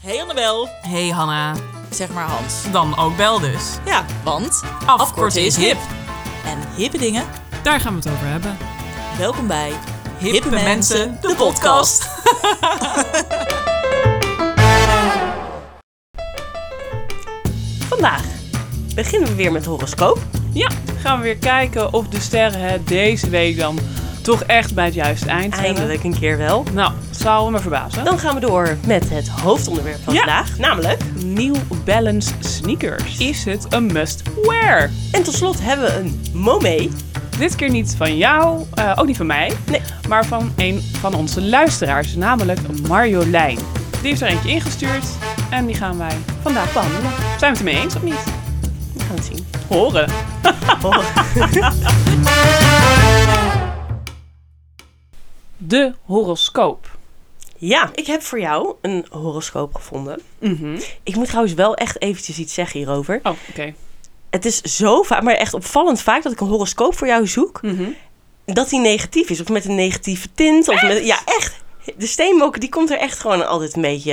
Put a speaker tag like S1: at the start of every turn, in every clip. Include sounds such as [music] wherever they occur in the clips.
S1: Hey Annabel.
S2: Hey Hanna,
S1: Zeg maar Hans.
S2: dan ook bel dus.
S1: Ja, want
S2: Afkorten is hip.
S1: En hippe dingen.
S2: Daar gaan we het over hebben.
S1: Welkom bij Hippe,
S2: Mensen, de
S3: [laughs] Vandaag beginnen we weer met horoscoop.
S4: Ja, gaan we weer kijken of de sterren het deze week dan toch echt bij het juiste eind hebben.
S3: Eindelijk een keer wel.
S4: Nou, het zou me verbazen.
S3: Dan gaan we door met het hoofdonderwerp van
S4: Ja.
S3: vandaag, namelijk.
S4: New Balance sneakers. Is het een must-wear?
S3: En tot slot hebben we een momee.
S4: Dit keer niet van jou, eh, ook niet van mij,
S3: Nee.
S4: maar van een van onze luisteraars, namelijk Marjolein. Die heeft er eentje ingestuurd en die gaan wij vandaag behandelen. Zijn we het ermee eens of niet?
S3: We gaan het zien.
S4: Horen. [laughs] De horoscoop.
S3: Ja, ik heb voor jou een horoscoop gevonden.
S4: Mhm.
S3: Ik moet trouwens wel echt eventjes iets zeggen hierover.
S4: Oh, oké.
S3: Het is zo vaak, maar echt opvallend vaak dat ik een horoscoop voor jou zoek.
S4: Mhm.
S3: Dat die negatief is. Of met een negatieve tint. Of met, ja, echt. De steenbok die komt er echt gewoon altijd een beetje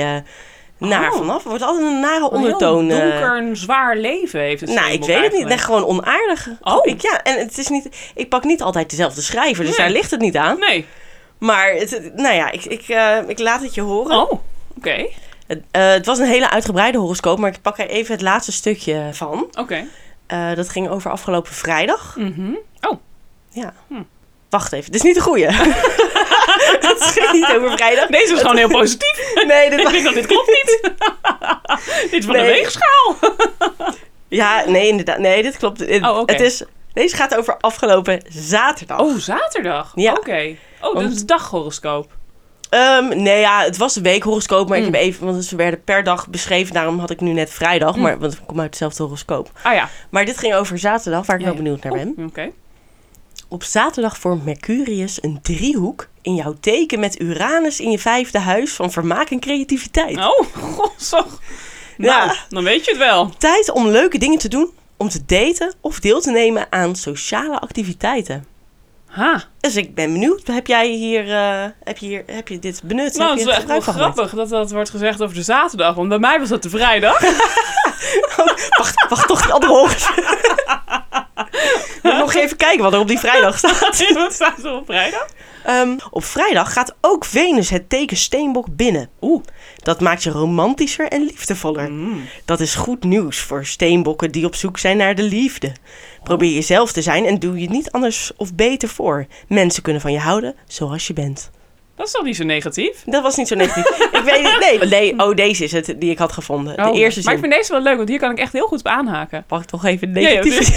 S3: eh, naar
S4: Oh.
S3: vanaf. Er wordt altijd een nare
S4: Een heel
S3: ondertoon. eh,
S4: donker, een zwaar leven heeft het
S3: Nou, ik
S4: steenbok
S3: weet het niet.
S4: eigenlijk.
S3: Nee, gewoon onaardig.
S4: Oh.
S3: Ik, ja, en het is niet, ik pak niet altijd dezelfde schrijver, dus
S4: Nee.
S3: daar ligt het niet aan.
S4: Nee.
S3: Maar, het, nou ja, ik, ik, eh, ik laat het je horen.
S4: Oh, oké.
S3: Het, eh, het was een hele uitgebreide horoscoop, maar ik pak er even het laatste stukje van.
S4: Oké.
S3: Eh, dat ging over afgelopen vrijdag.
S4: Mhm.
S3: Ja.
S4: Hm.
S3: Wacht even, dit is niet de
S4: [laughs]
S3: goeie. Het ging niet over vrijdag.
S4: Deze was gewoon heel [laughs] positief.
S3: Nee, dit
S4: ik denk dat dit klopt [laughs] niet. dit is van
S3: Nee.
S4: de weegschaal.
S3: Ja, nee, inderdaad. Nee, dit klopt. Het,
S4: Oh, oké.
S3: het is, deze gaat over afgelopen zaterdag.
S4: Oh, zaterdag.
S3: Ja.
S4: Oké. Oh, dat
S3: Want-
S4: is het daghoroscoop.
S3: Ehm, nee, ja, het was een weekhoroscoop, maar
S4: Hmm.
S3: ik heb even, want ze werden per dag beschreven. Daarom had ik nu net vrijdag,
S4: Hmm.
S3: maar want ik kom uit hetzelfde horoscoop.
S4: Ah ja.
S3: Maar dit ging over zaterdag, waar ik
S4: Ja,
S3: wel
S4: ja.
S3: benieuwd naar
S4: Oeh,
S3: ben.
S4: Oké.
S3: Op zaterdag vormt Mercurius een driehoek in jouw teken met Uranus in je vijfde huis van vermaak en creativiteit.
S4: Oh, [laughs] godzog.
S3: Ja.
S4: Nou, dan weet je het wel.
S3: Tijd om leuke dingen te doen, om te daten of deel te nemen aan sociale activiteiten.
S4: Ha.
S3: Dus ik ben benieuwd, heb jij hier, eh, heb je hier heb je dit benut? heb
S4: Nou, het
S3: je
S4: is wel echt wel
S3: gebruik van gemaakt?
S4: grappig dat dat wordt gezegd over de zaterdag. Want bij mij was dat de
S3: [laughs]
S4: vrijdag.
S3: Wacht, wacht toch die andere horens. We moeten nog even kijken wat er op die vrijdag staat.
S4: en dat staat er op vrijdag.
S3: Ehm, op vrijdag gaat ook Venus het teken steenbok binnen.
S4: Oeh.
S3: Dat maakt je romantischer en liefdevoller.
S4: Mm.
S3: Dat is goed nieuws voor steenbokken die op zoek zijn naar de liefde. Probeer jezelf te zijn en doe je niet anders of beter voor. Mensen kunnen van je houden zoals je bent.
S4: Dat is toch niet zo negatief?
S3: Dat was niet zo negatief. ik weet het, nee. nee. Oh, deze is het die ik had gevonden. De
S4: Oh,
S3: eerste
S4: Maar
S3: zin.
S4: ik vind deze wel leuk, want hier kan ik echt heel goed op aanhaken.
S3: Pak toch even
S4: ja,
S3: negatief.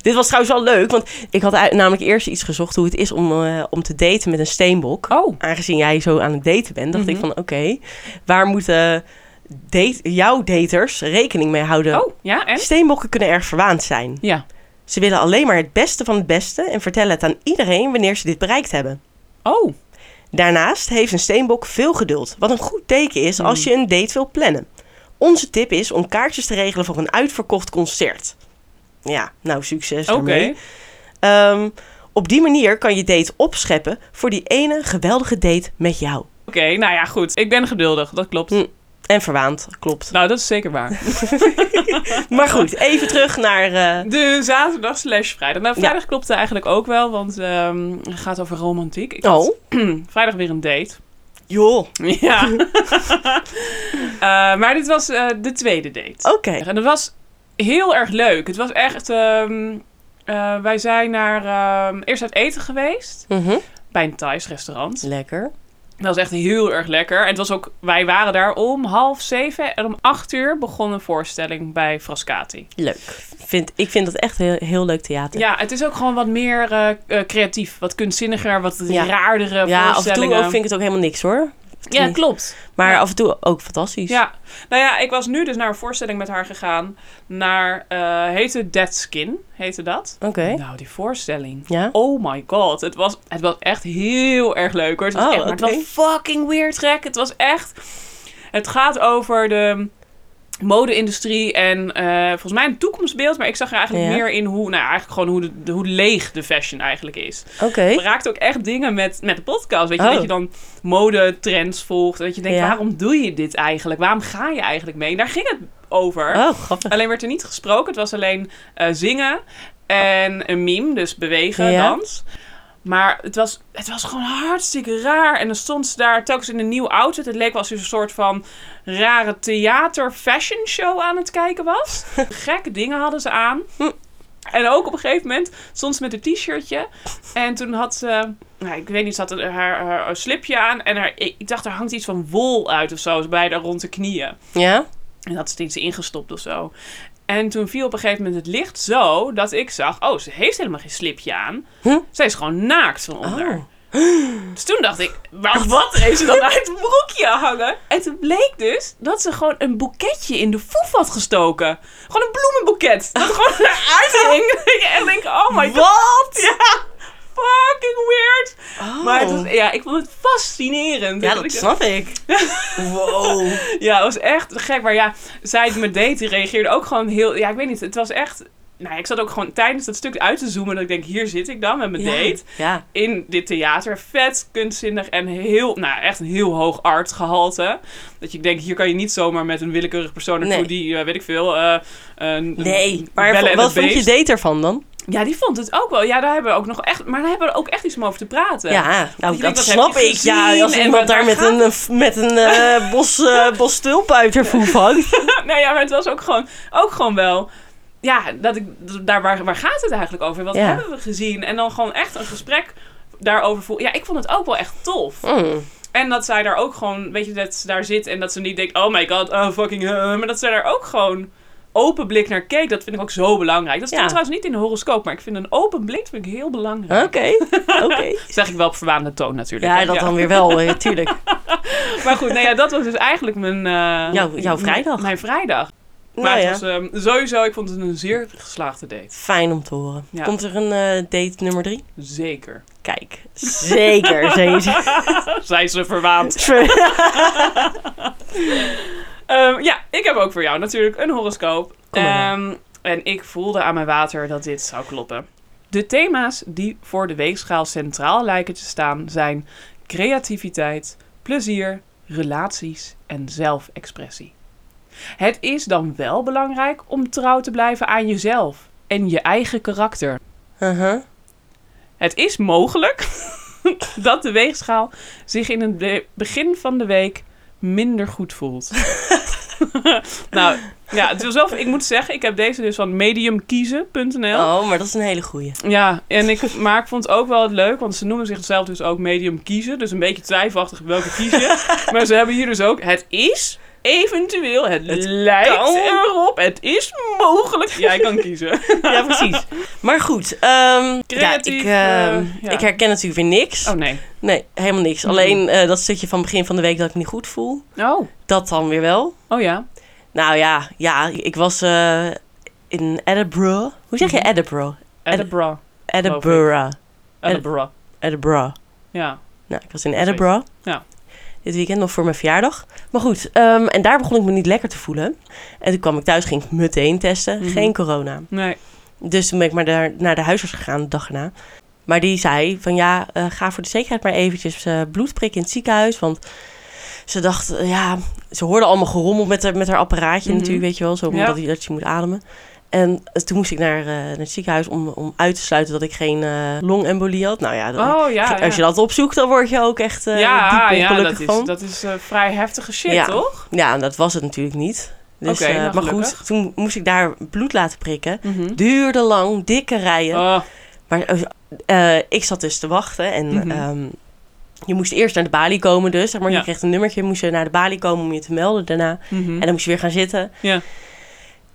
S3: Dit was trouwens wel leuk, want ik had uit- namelijk eerst iets gezocht hoe het is om, eh, om te daten met een steenbok.
S4: Oh.
S3: Aangezien jij zo aan het daten bent, dacht ik van oké, waar moeten eh, date, jouw daters rekening mee houden?
S4: Oh, ja, en?
S3: Steenbokken kunnen erg verwaand zijn.
S4: Ja.
S3: Ze willen alleen maar het beste van het beste en vertellen het aan iedereen wanneer ze dit bereikt hebben.
S4: Oh,
S3: Daarnaast heeft een steenbok veel geduld, wat een goed teken is als je een date wil plannen. Onze tip is om kaartjes te regelen voor een uitverkocht concert. Ja, nou succes
S4: oké.
S3: ermee. Ehm, op die manier kan je date opscheppen voor die ene geweldige date met jou.
S4: Oké, nou ja, goed. Ik ben geduldig, dat klopt.
S3: Hm. En verwaand, [laughs] klopt.
S4: Nou, dat is zeker waar.
S3: Maar goed, even terug naar... eh,
S4: De zaterdag slash vrijdag. Nou,
S3: Ja.
S4: vrijdag klopte eigenlijk ook wel, want ehm, het gaat over romantiek. Ik had
S3: Oh,
S4: [clears throat] vrijdag weer een date. [laughs]
S3: joh. [laughs]
S4: Ja. Eh, maar dit was eh, de tweede date.
S3: Oké.
S4: En dat was heel erg leuk. Het was echt... ehm, eh, wij zijn naar, ehm, eerst uit eten geweest.
S3: Mhm.
S4: Bij een Thais restaurant.
S3: Lekker.
S4: Dat was echt heel erg lekker. En het was ook, wij waren daar om half zeven en om acht uur begon een voorstelling bij Frascati.
S3: Leuk. Vind, ik vind dat echt heel, heel leuk theater.
S4: Ja, het is ook gewoon wat meer eh, eh, creatief, wat kunstzinniger, wat
S3: Ja.
S4: raardere
S3: Ja, af en toe
S4: voorstellingen.
S3: ook vind ik het ook helemaal niks hoor.
S4: ja, klopt.
S3: Maar
S4: Ja.
S3: af en toe ook fantastisch.
S4: Ja, nou ja, ik was nu dus naar een voorstelling met haar gegaan. Naar, eh heette Dead Skin, heette dat.
S3: Oké.
S4: Nou, die voorstelling.
S3: Ja.
S4: Oh my god, het was, het was echt heel erg leuk hoor. Het was,
S3: Oh,
S4: echt, maar het
S3: oké.
S4: was fucking weird gek. Het was echt... Het gaat over de mode-industrie en eh, volgens mij een toekomstbeeld. Maar ik zag er eigenlijk
S3: Ja.
S4: meer in hoe, nou eigenlijk gewoon hoe, de, de- hoe leeg de fashion eigenlijk is.
S3: Oké.
S4: We raakten ook echt dingen met, met de podcast. Weet je,
S3: Oh.
S4: dat je dan modetrends volgt. En dat je denkt,
S3: Ja.
S4: waarom doe je dit eigenlijk? Waarom ga je eigenlijk mee? En daar ging het over.
S3: Oh, [laughs] grappig.
S4: Alleen werd er niet gesproken. Het was alleen eh, zingen en een meme, dus bewegen,
S3: Ja.
S4: dans. Maar het was, het was gewoon hartstikke raar. En dan stond ze daar telkens in een nieuw outfit. Het leek wel alsof ze een soort van rare theater-fashion show aan het kijken was. Gekke dingen hadden ze aan. En ook op een gegeven moment stond ze met een t-shirtje. En toen had ze, nou, ik weet niet, ze had een- haar, haar, haar slipje aan. En haar, ik ik dacht, er hangt iets van wol uit of zo. bij haar rond de knieën.
S3: Ja?
S4: En dat is iets ingestopt of zo. En toen viel op een gegeven moment het licht zo dat ik zag: oh, ze heeft helemaal geen slipje aan.
S3: Huh?
S4: Zij is gewoon naakt van onder.
S3: Oh.
S4: Dus toen dacht ik: maar wat heeft ze dan uit het broekje hangen? En toen bleek dus dat ze gewoon een boeketje in de foef had gestoken. Gewoon een
S3: [laughs]
S4: bloemenboeket. Dat gewoon eruit hing. [laughs] en ik denk: oh my god.
S3: Wat?
S4: Ja, fucking weird.
S3: Oh.
S4: Maar het was, ja, ik vond het fascinerend.
S3: ja,
S4: Ik-
S3: dat snap ik. [laughs] wow.
S4: ja, het was echt gek. Maar ja, zij die me deed, die reageerde ook gewoon heel... Ja, ik weet niet. Het was echt... Nou, ik zat ook gewoon tijdens dat stuk uit te zoomen. Dat ik denk, hier zit ik dan met mijn date.
S3: Ja.
S4: In dit theater. Vet, kunstzinnig en heel... Nou, echt een heel hoog artgehalte. Dat je denkt, hier kan je niet zomaar met een willekeurig persoon naartoe.
S3: Nee.
S4: Die, eh, weet ik veel... eh, een-
S3: Nee.
S4: een
S3: Maar
S4: Belle
S3: vo-
S4: en
S3: wat
S4: het
S3: vond je
S4: Beest.
S3: date ervan dan?
S4: Ja, die vond het ook wel. Ja, daar hebben we ook nog echt... Maar daar hebben we ook echt iets om over te praten.
S3: Ja, nou,
S4: je denkt,
S3: dat
S4: wat
S3: snap
S4: heb je
S3: ik. Ja,
S4: gezien
S3: als
S4: en
S3: iemand
S4: waar-
S3: daar
S4: waar
S3: met
S4: gaat
S3: een, met een
S4: [laughs]
S3: eh, bos, eh, bos tulpen uit haar voet hangt.
S4: Nou ja, maar het was ook gewoon, ook gewoon wel. Ja, dat ik, d- daar, waar, waar gaat het eigenlijk over? Wat
S3: Ja.
S4: hebben we gezien? En dan gewoon echt een gesprek daarover voeren. Ja, ik vond het ook wel echt tof.
S3: Mm.
S4: En dat zij daar ook gewoon, weet je, dat ze daar zit en dat ze niet denkt, oh my god, oh fucking, eh, maar dat zij daar ook gewoon open blik naar keek. Dat vind ik ook zo belangrijk. Dat staat
S3: Ja.
S4: trouwens niet in de horoscoop, maar ik vind een open blik vind ik heel belangrijk. [laughs]
S3: Oké, oké.
S4: Dat zeg ik wel op verwaande toon natuurlijk.
S3: Ja,
S4: hè?
S3: dat dan weer wel, eh, tuurlijk.
S4: Maar goed, nou ja, dat was dus eigenlijk mijn... eh,
S3: Jouw- jouw vrijdag.
S4: Mijn vrijdag. Maar
S3: Nou ja,
S4: het was ehm, sowieso, ik vond het een zeer geslaagde date.
S3: fijn om te horen.
S4: Ja.
S3: Komt er een eh, date nummer drie? [laughs]
S4: Zeker.
S3: Kijk, zeker, [laughs] zeker.
S4: Zijn ze verwaand. Ehm, ja, ik heb ook voor jou natuurlijk een horoscoop.
S3: Kom maar
S4: Ehm, en ik voelde aan mijn water dat dit zou kloppen. De thema's die voor de weegschaal centraal lijken te staan zijn creativiteit, plezier, relaties en zelfexpressie. Het is dan wel belangrijk om trouw te blijven aan jezelf en je eigen karakter.
S3: Uh-huh.
S4: Het is mogelijk [laughs] dat de weegschaal zich in het be- begin van de week minder goed voelt. [laughs] nou, ja, het was wel, ik moet zeggen, ik heb deze dus van mediumkiezen.nl.
S3: Oh, maar dat is een hele goeie.
S4: Ja, en ik, maar ik vond ook wel het leuk, want ze noemen zichzelf dus ook medium kiezen. Dus een beetje twijfelachtig welke kiezen. [laughs] maar ze hebben hier dus ook, het is eventueel, het, lijkt
S3: kan.
S4: erop, het is mogelijk. Jij kan kiezen.
S3: Ja, precies. Maar goed, ehm,
S4: Creatief,
S3: ja, ik, ehm,
S4: eh, ja.
S3: ik herken natuurlijk weer niks.
S4: Oh Mm-hmm. nee.
S3: Nee, helemaal niks. Alleen eh, dat stukje van begin van de week dat ik me niet goed voel,
S4: Oh.
S3: dat dan weer wel.
S4: Oh ja.
S3: Nou ja, ja ik was eh, in Edinburgh. Hoe zeg je
S4: Mhm.
S3: Edinburgh?
S4: Edinburgh.
S3: Edinburgh.
S4: Edinburgh.
S3: Edinburgh.
S4: Ja.
S3: Nou, ik was in Edinburgh.
S4: Ja.
S3: Dit weekend nog voor mijn verjaardag. Maar goed, ehm, en daar begon ik me niet lekker te voelen. En toen kwam ik thuis, ging ik meteen testen.
S4: Mhm.
S3: Geen corona.
S4: Nee.
S3: Dus toen ben ik maar daar, naar de huisarts gegaan de dag erna. Maar die zei van ja, eh, ga voor de zekerheid maar eventjes eh, bloed prikken in het ziekenhuis. Want ze dacht, eh, ja, ze hoorde allemaal gerommel met, haar- met haar apparaatje
S4: Mhm.
S3: natuurlijk, weet je wel. Zo
S4: Ja.
S3: dat, je- dat je moet ademen. En eh, toen moest ik naar, eh, naar het ziekenhuis om, om uit te sluiten dat ik geen eh, longembolie had. Nou ja, dan-
S4: Oh ja.
S3: als je
S4: ja.
S3: dat opzoekt, dan word je ook echt eh
S4: ja,
S3: diep
S4: ja, dat
S3: ongelukkig
S4: is,
S3: van.
S4: dat is eh, vrij heftige shit,
S3: Ja.
S4: toch?
S3: Ja, en dat was het natuurlijk niet. Dus,
S4: Oké,
S3: eh,
S4: nou,
S3: maar
S4: gelukkig. Mhm.
S3: goed, toen moest ik daar bloed laten prikken. Duurde lang, dikke rijen.
S4: Oh,
S3: Maar eh, eh, ik zat dus te wachten en
S4: Mhm.
S3: ehm, je moest eerst naar de balie komen dus. Zeg maar,
S4: Ja.
S3: Je kreeg een nummertje, moest je naar de balie komen om je te melden daarna.
S4: mhm.
S3: En dan moest je weer gaan zitten.
S4: Ja.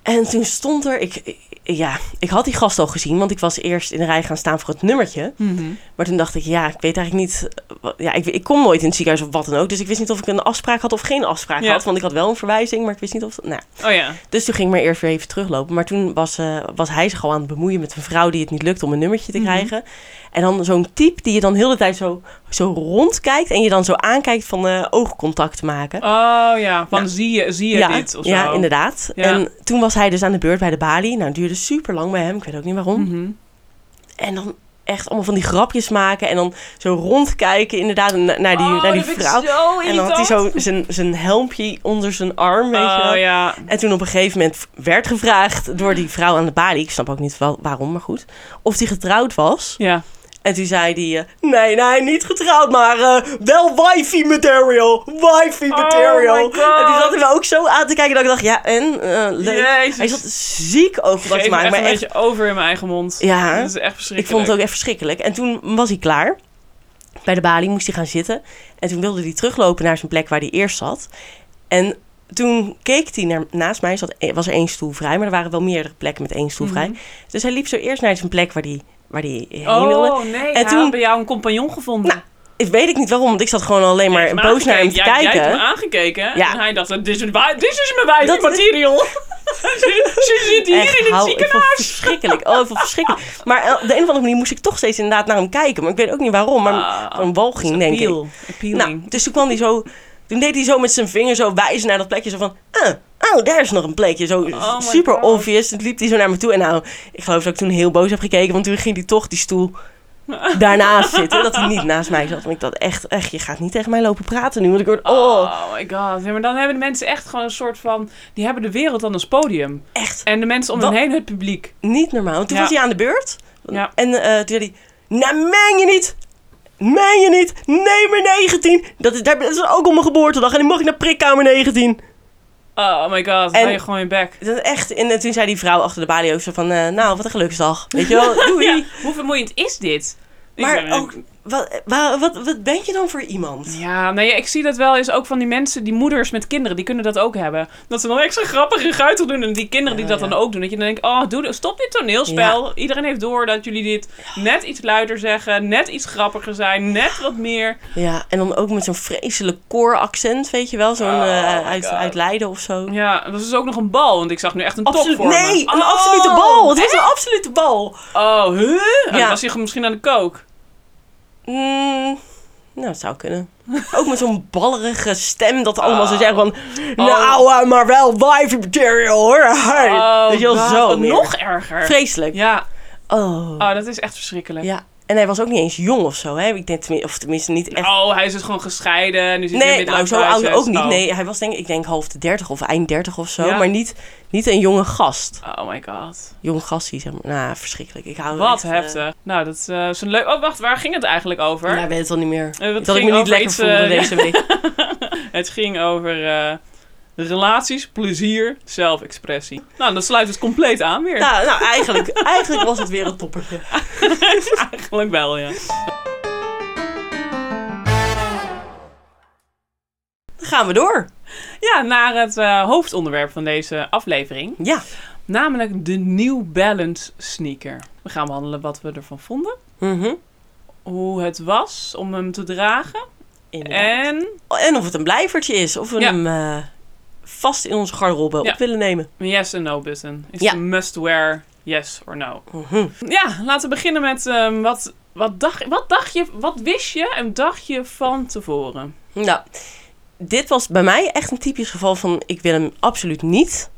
S3: En toen stond er, ik, ik- ja, ik had die gast al gezien, want ik was eerst in de rij gaan staan voor het nummertje.
S4: Mhm.
S3: Maar toen dacht ik, ja, ik weet eigenlijk niet, eh, wa- ja, ik, ik kom nooit in het ziekenhuis of wat dan ook. Dus ik wist niet of ik een afspraak had of geen afspraak
S4: Ja.
S3: had, want ik had wel een verwijzing, maar ik wist niet of, nou,
S4: Oh ja.
S3: dus toen ging ik maar eerst weer even teruglopen. Maar toen was, eh, was hij zich al aan het bemoeien met een vrouw die het niet lukte om een nummertje te
S4: Mhm.
S3: krijgen. En dan zo'n type die je dan heel de tijd zo, zo rondkijkt en je dan zo aankijkt van eh, oogcontact maken.
S4: Oh ja, van
S3: Ja.
S4: zie je, zie je dit of zo.
S3: ja, inderdaad.
S4: Ja.
S3: En toen was hij dus aan de beurt bij de balie. Nou, het duurde super lang bij hem. Ik weet ook niet waarom.
S4: Mhm.
S3: En dan echt allemaal van die grapjes maken. en dan zo rondkijken inderdaad na- naar die,
S4: Oh,
S3: naar die
S4: dat vind ik
S3: vrouw.
S4: zo
S3: En dan had hij
S4: irritant.
S3: zo zijn, zijn helmpje onder zijn arm, weet je wel.
S4: Oh ja.
S3: En toen op een gegeven moment werd gevraagd door die vrouw aan de balie, ik snap ook niet wel waarom, maar goed, of hij getrouwd was.
S4: Ja.
S3: En toen zei hij, eh, nee, nee, niet getrouwd, maar eh, wel wifi material, wifi
S4: Oh
S3: material.
S4: my God.
S3: en die zat me ook zo aan te kijken dat ik dacht, ja, en, Eh, leuk.
S4: Jezus.
S3: Hij zat ziek over wat
S4: Geef
S3: te
S4: me echt
S3: maken,
S4: een
S3: maar echt,
S4: beetje over in mijn eigen mond.
S3: Ja.
S4: Dat is echt
S3: ik
S4: verschrikkelijk.
S3: vond het ook echt verschrikkelijk. En toen was hij klaar. Bij de balie moest hij gaan zitten. En toen wilde hij teruglopen naar zijn plek waar hij eerst zat. En toen keek hij naar, naast mij, zat, e-, was er één stoel vrij, maar er waren wel meerdere plekken met één stoel
S4: Mhm.
S3: vrij. Dus hij liep zo eerst naar zijn plek waar hij, waar hij heen wilde.
S4: Oh nee, en
S3: toen-
S4: toen bij jou een compagnon gevonden.
S3: Nou, Ik weet ik niet waarom, want ik zat gewoon alleen maar
S4: Jij hebt me
S3: boos naar hem te
S4: aangekeken. Jij-
S3: kijken.
S4: Jij hebt me aangekeken.
S3: Ja.
S4: En hij dacht, dit is, wa- dit is mijn wijf
S3: Dat-
S4: material. [laughs] ze, ze zit hier
S3: Echt,
S4: in het
S3: hou- ik vond
S4: ziekenhuis.
S3: het verschrikkelijk. Oh, ik vond het verschrikkelijk. Maar eh, op de een of andere manier moest ik toch steeds inderdaad naar hem kijken. Maar ik weet ook niet waarom. Maar
S4: Ah,
S3: een walging, denk ik.
S4: Appeal. Appealing.
S3: Nou, dus toen kwam hij zo... Toen deed hij zo met zijn vinger zo wijzen naar dat plekje. Zo van, ah, oh, daar is nog een plekje. Zo
S4: Oh my
S3: super
S4: God.
S3: obvious. Toen liep hij zo naar me toe. En nou, ik geloof dat ik toen heel boos heb gekeken. Want toen ging hij toch die
S4: [laughs]
S3: stoel daarnaast zitten. Dat hij niet naast mij zat. Want ik dacht echt, echt, je gaat niet tegen mij lopen praten nu. Want ik hoor, oh,
S4: Oh my god. Ja, maar dan hebben de mensen echt gewoon een soort van... Die hebben de wereld dan als podium.
S3: echt
S4: En de mensen om
S3: Wat?
S4: hen heen het publiek.
S3: niet normaal. Want toen
S4: Ja.
S3: was hij aan de beurt.
S4: Ja.
S3: En eh, toen zei hij, nou, meen je niet... Meen je niet? Nee, maar 19. Dat is, daar- dat is ook op mijn geboortedag. En dan mag ik naar prikkamer 19.
S4: Oh my god.
S3: En-
S4: En... je gewoon in je bek.
S3: Dat echt, en eh, toen zei die vrouw achter de balie ook zo van, eh, nou, wat een geluksdag. Weet je
S4: [laughs]
S3: wel, doei.
S4: Ja, hoe vermoeiend is dit? Ik ben-
S3: Maar ook, wat, wa- wat, wat ben je dan voor iemand?
S4: Ja, nee, ik zie dat wel eens ook van die mensen, die moeders met kinderen, die kunnen dat ook hebben. Dat ze dan extra grappige guitel doen en die kinderen die
S3: Ja,
S4: dat
S3: ja.
S4: dan ook doen. Dat je dan denkt, oh, doe, stop dit toneelspel. Iedereen heeft door dat jullie dit net iets luider zeggen, net iets grappiger zijn, net wat meer.
S3: Ja, en dan ook met zo'n vreselijk koor-accent, weet je wel. Zo'n
S4: Oh
S3: eh,
S4: my
S3: uit,
S4: God.
S3: uit Leiden of zo.
S4: Ja, dat is dus ook nog een bal, want ik zag nu echt een top
S3: Absoluut,
S4: voor me.
S3: nee, een
S4: Oh,
S3: absolute bal. Het was een absolute bal.
S4: Oh, huh? Oh,
S3: Ja.
S4: dan was hij misschien aan de kook.
S3: Mm, nou, het zou
S4: [laughs]
S3: kunnen. Ook met zo'n ballerige stem dat allemaal
S4: Ah.
S3: zo zeggen van... Nou, eh, maar wel wife material hoor. Hey.
S4: Oh,
S3: Weet je wel,
S4: God,
S3: zo
S4: wat
S3: meer.
S4: nog erger.
S3: Vreselijk.
S4: ja,
S3: Oh.
S4: oh, dat is echt verschrikkelijk.
S3: Ja, en hij was ook niet eens jong of zo, hè? Ik denk, tenmin- of tenminste niet echt...
S4: Oh, hij is dus gewoon gescheiden. Nu zit hij
S3: nee,
S4: in
S3: nou,
S4: midlife
S3: zo oud
S4: crisis.
S3: ook niet.
S4: Oh.
S3: Nee, hij was denk ik, ik denk half de dertig of eind dertig of zo.
S4: Ja.
S3: Maar niet, niet een jonge gast.
S4: Oh my god.
S3: Jong gastie, zeg maar. Nou, verschrikkelijk. Ik hou
S4: Wat
S3: echt, eh,
S4: heftig. nou, dat eh, is een leuk... Oh, wacht, waar ging het eigenlijk over?
S3: nou, ik weet het al niet meer.
S4: Eh, wat
S3: dat ik
S4: ging
S3: me niet
S4: over
S3: lekker
S4: iets,
S3: voelde
S4: eh,
S3: deze
S4: [laughs]
S3: week.
S4: Het ging over eh, relaties, plezier, zelfexpressie. Nou, dat sluit het compleet aan weer.
S3: nou, nou eigenlijk, eigenlijk was het weer een toppertje.
S4: Eigenlijk wel, ja.
S3: Dan gaan we door.
S4: Ja, naar het eh, hoofdonderwerp van deze aflevering.
S3: Ja.
S4: Namelijk de New Balance sneaker. We gaan behandelen wat we ervan vonden.
S3: Mhm.
S4: Hoe het was om hem te dragen.
S3: Inderdaad.
S4: En
S3: En of het een blijvertje is. Of we
S4: Eh. Ja.
S3: hem eh, vast in onze garderobe
S4: Ja.
S3: op willen nemen.
S4: een yes en no button. Is
S3: Ja.
S4: het een must wear, yes or no?
S3: Mhm.
S4: Ja, laten we beginnen met ehm, wat, wat, dacht, wat dacht je, wat wist je en dacht je van tevoren?
S3: Nou, dit was bij mij echt een typisch geval van ik wil hem absoluut niet.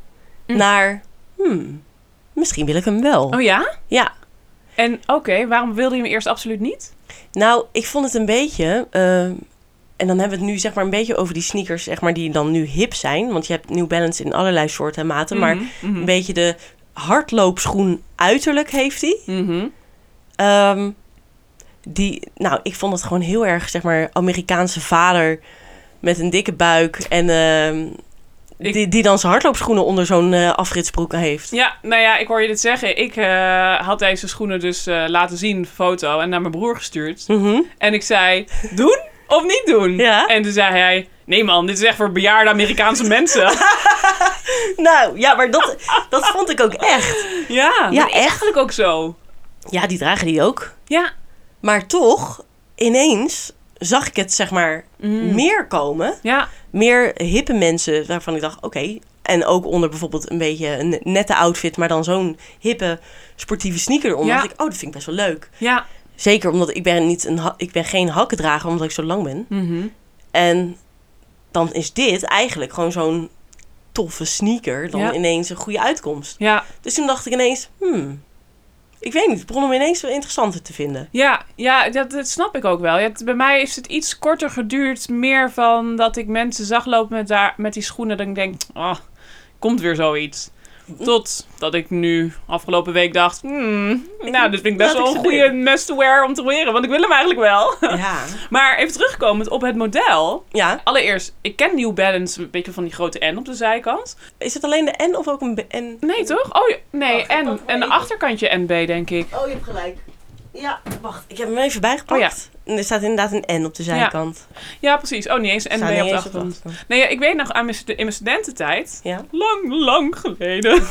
S4: Mm.
S3: Naar, hmm, misschien wil ik hem wel.
S4: Oh ja?
S3: Ja,
S4: En oké, waarom wilde je hem eerst absoluut niet?
S3: nou, ik vond het een beetje, eh, en dan hebben we het nu zeg maar een beetje over die sneakers zeg maar, die dan nu hip zijn. Want je hebt New Balance in allerlei soorten en maten, maar
S4: Mhm, mhm.
S3: een beetje de hardloopschoen uiterlijk heeft hij.
S4: Mhm.
S3: Ehm, die, nou, ik vond het gewoon heel erg, zeg maar, Amerikaanse vader met een dikke buik en ehm,
S4: Ik-
S3: die, die dan zijn hardloopschoenen onder zo'n eh, afritsbroek heeft.
S4: Ja, nou ja, ik hoor je dit zeggen. Ik eh, had deze schoenen dus eh, laten zien, foto, en naar mijn broer gestuurd.
S3: Mhm.
S4: En ik zei, doen of niet doen?
S3: Ja.
S4: En toen zei hij, nee man, dit is echt voor bejaarde Amerikaanse [laughs] mensen.
S3: Nou, ja, maar dat, dat vond ik ook echt.
S4: ja,
S3: [laughs] Ja,
S4: dat is
S3: echt?
S4: eigenlijk ook zo.
S3: Ja, die dragen die ook.
S4: Ja.
S3: Maar toch, ineens zag ik het, zeg maar,
S4: Mm.
S3: meer komen.
S4: Ja,
S3: Meer hippe mensen waarvan ik dacht, oké. En ook onder bijvoorbeeld een beetje een nette outfit, maar dan zo'n hippe sportieve sneaker eronder.
S4: Ja.
S3: dacht ik, oh, dat vind ik best wel leuk.
S4: ja.
S3: Zeker omdat ik ben, niet een ha- ik ben geen hakkendrager omdat ik zo lang ben. En dan is dit eigenlijk gewoon zo'n toffe sneaker dan
S4: Ja.
S3: ineens een goede uitkomst.
S4: Ja,
S3: Dus toen dacht ik ineens, hmm, ik weet niet, het begon me ineens wel interessanter te
S4: [laughs]
S3: vinden.
S4: ja, ja dat, dat snap ik ook wel. Ja, het- bij mij heeft het iets korter geduurd. Meer van dat ik mensen zag lopen met, daar, met die schoenen. Dat ik denk, ah, komt weer zoiets. Tot dat ik nu afgelopen week dacht, hmm, nou, dit vind ik best
S3: Laat ik
S4: wel
S3: ze
S4: een goede
S3: doen.
S4: must-wear om te wearen. Want ik wil hem eigenlijk wel. [laughs]
S3: Ja.
S4: Maar even terugkomend op het model.
S3: ja.
S4: Allereerst, ik ken New Balance een beetje van die grote N op de zijkant.
S3: Is het alleen de N of ook een B? N?
S4: Nee, toch? Oh, ja, nee,
S3: Wacht, ik pak
S4: N.
S3: maar
S4: En de
S3: even.
S4: achterkantje NB, denk ik.
S3: Oh, je hebt gelijk. Ja, wacht. Ik heb hem even bijgepakt.
S4: Oh
S3: En er staat inderdaad een N op de zijkant.
S4: Ja, precies. Oh, niet eens
S3: Staat
S4: NB op
S3: niet
S4: de
S3: eens op de
S4: achterkant.
S3: achterkant.
S4: Nee, ja, ik weet nog aan mijn, stu- in mijn studententijd.
S3: Ja.
S4: Lang, lang
S3: [laughs]
S4: geleden.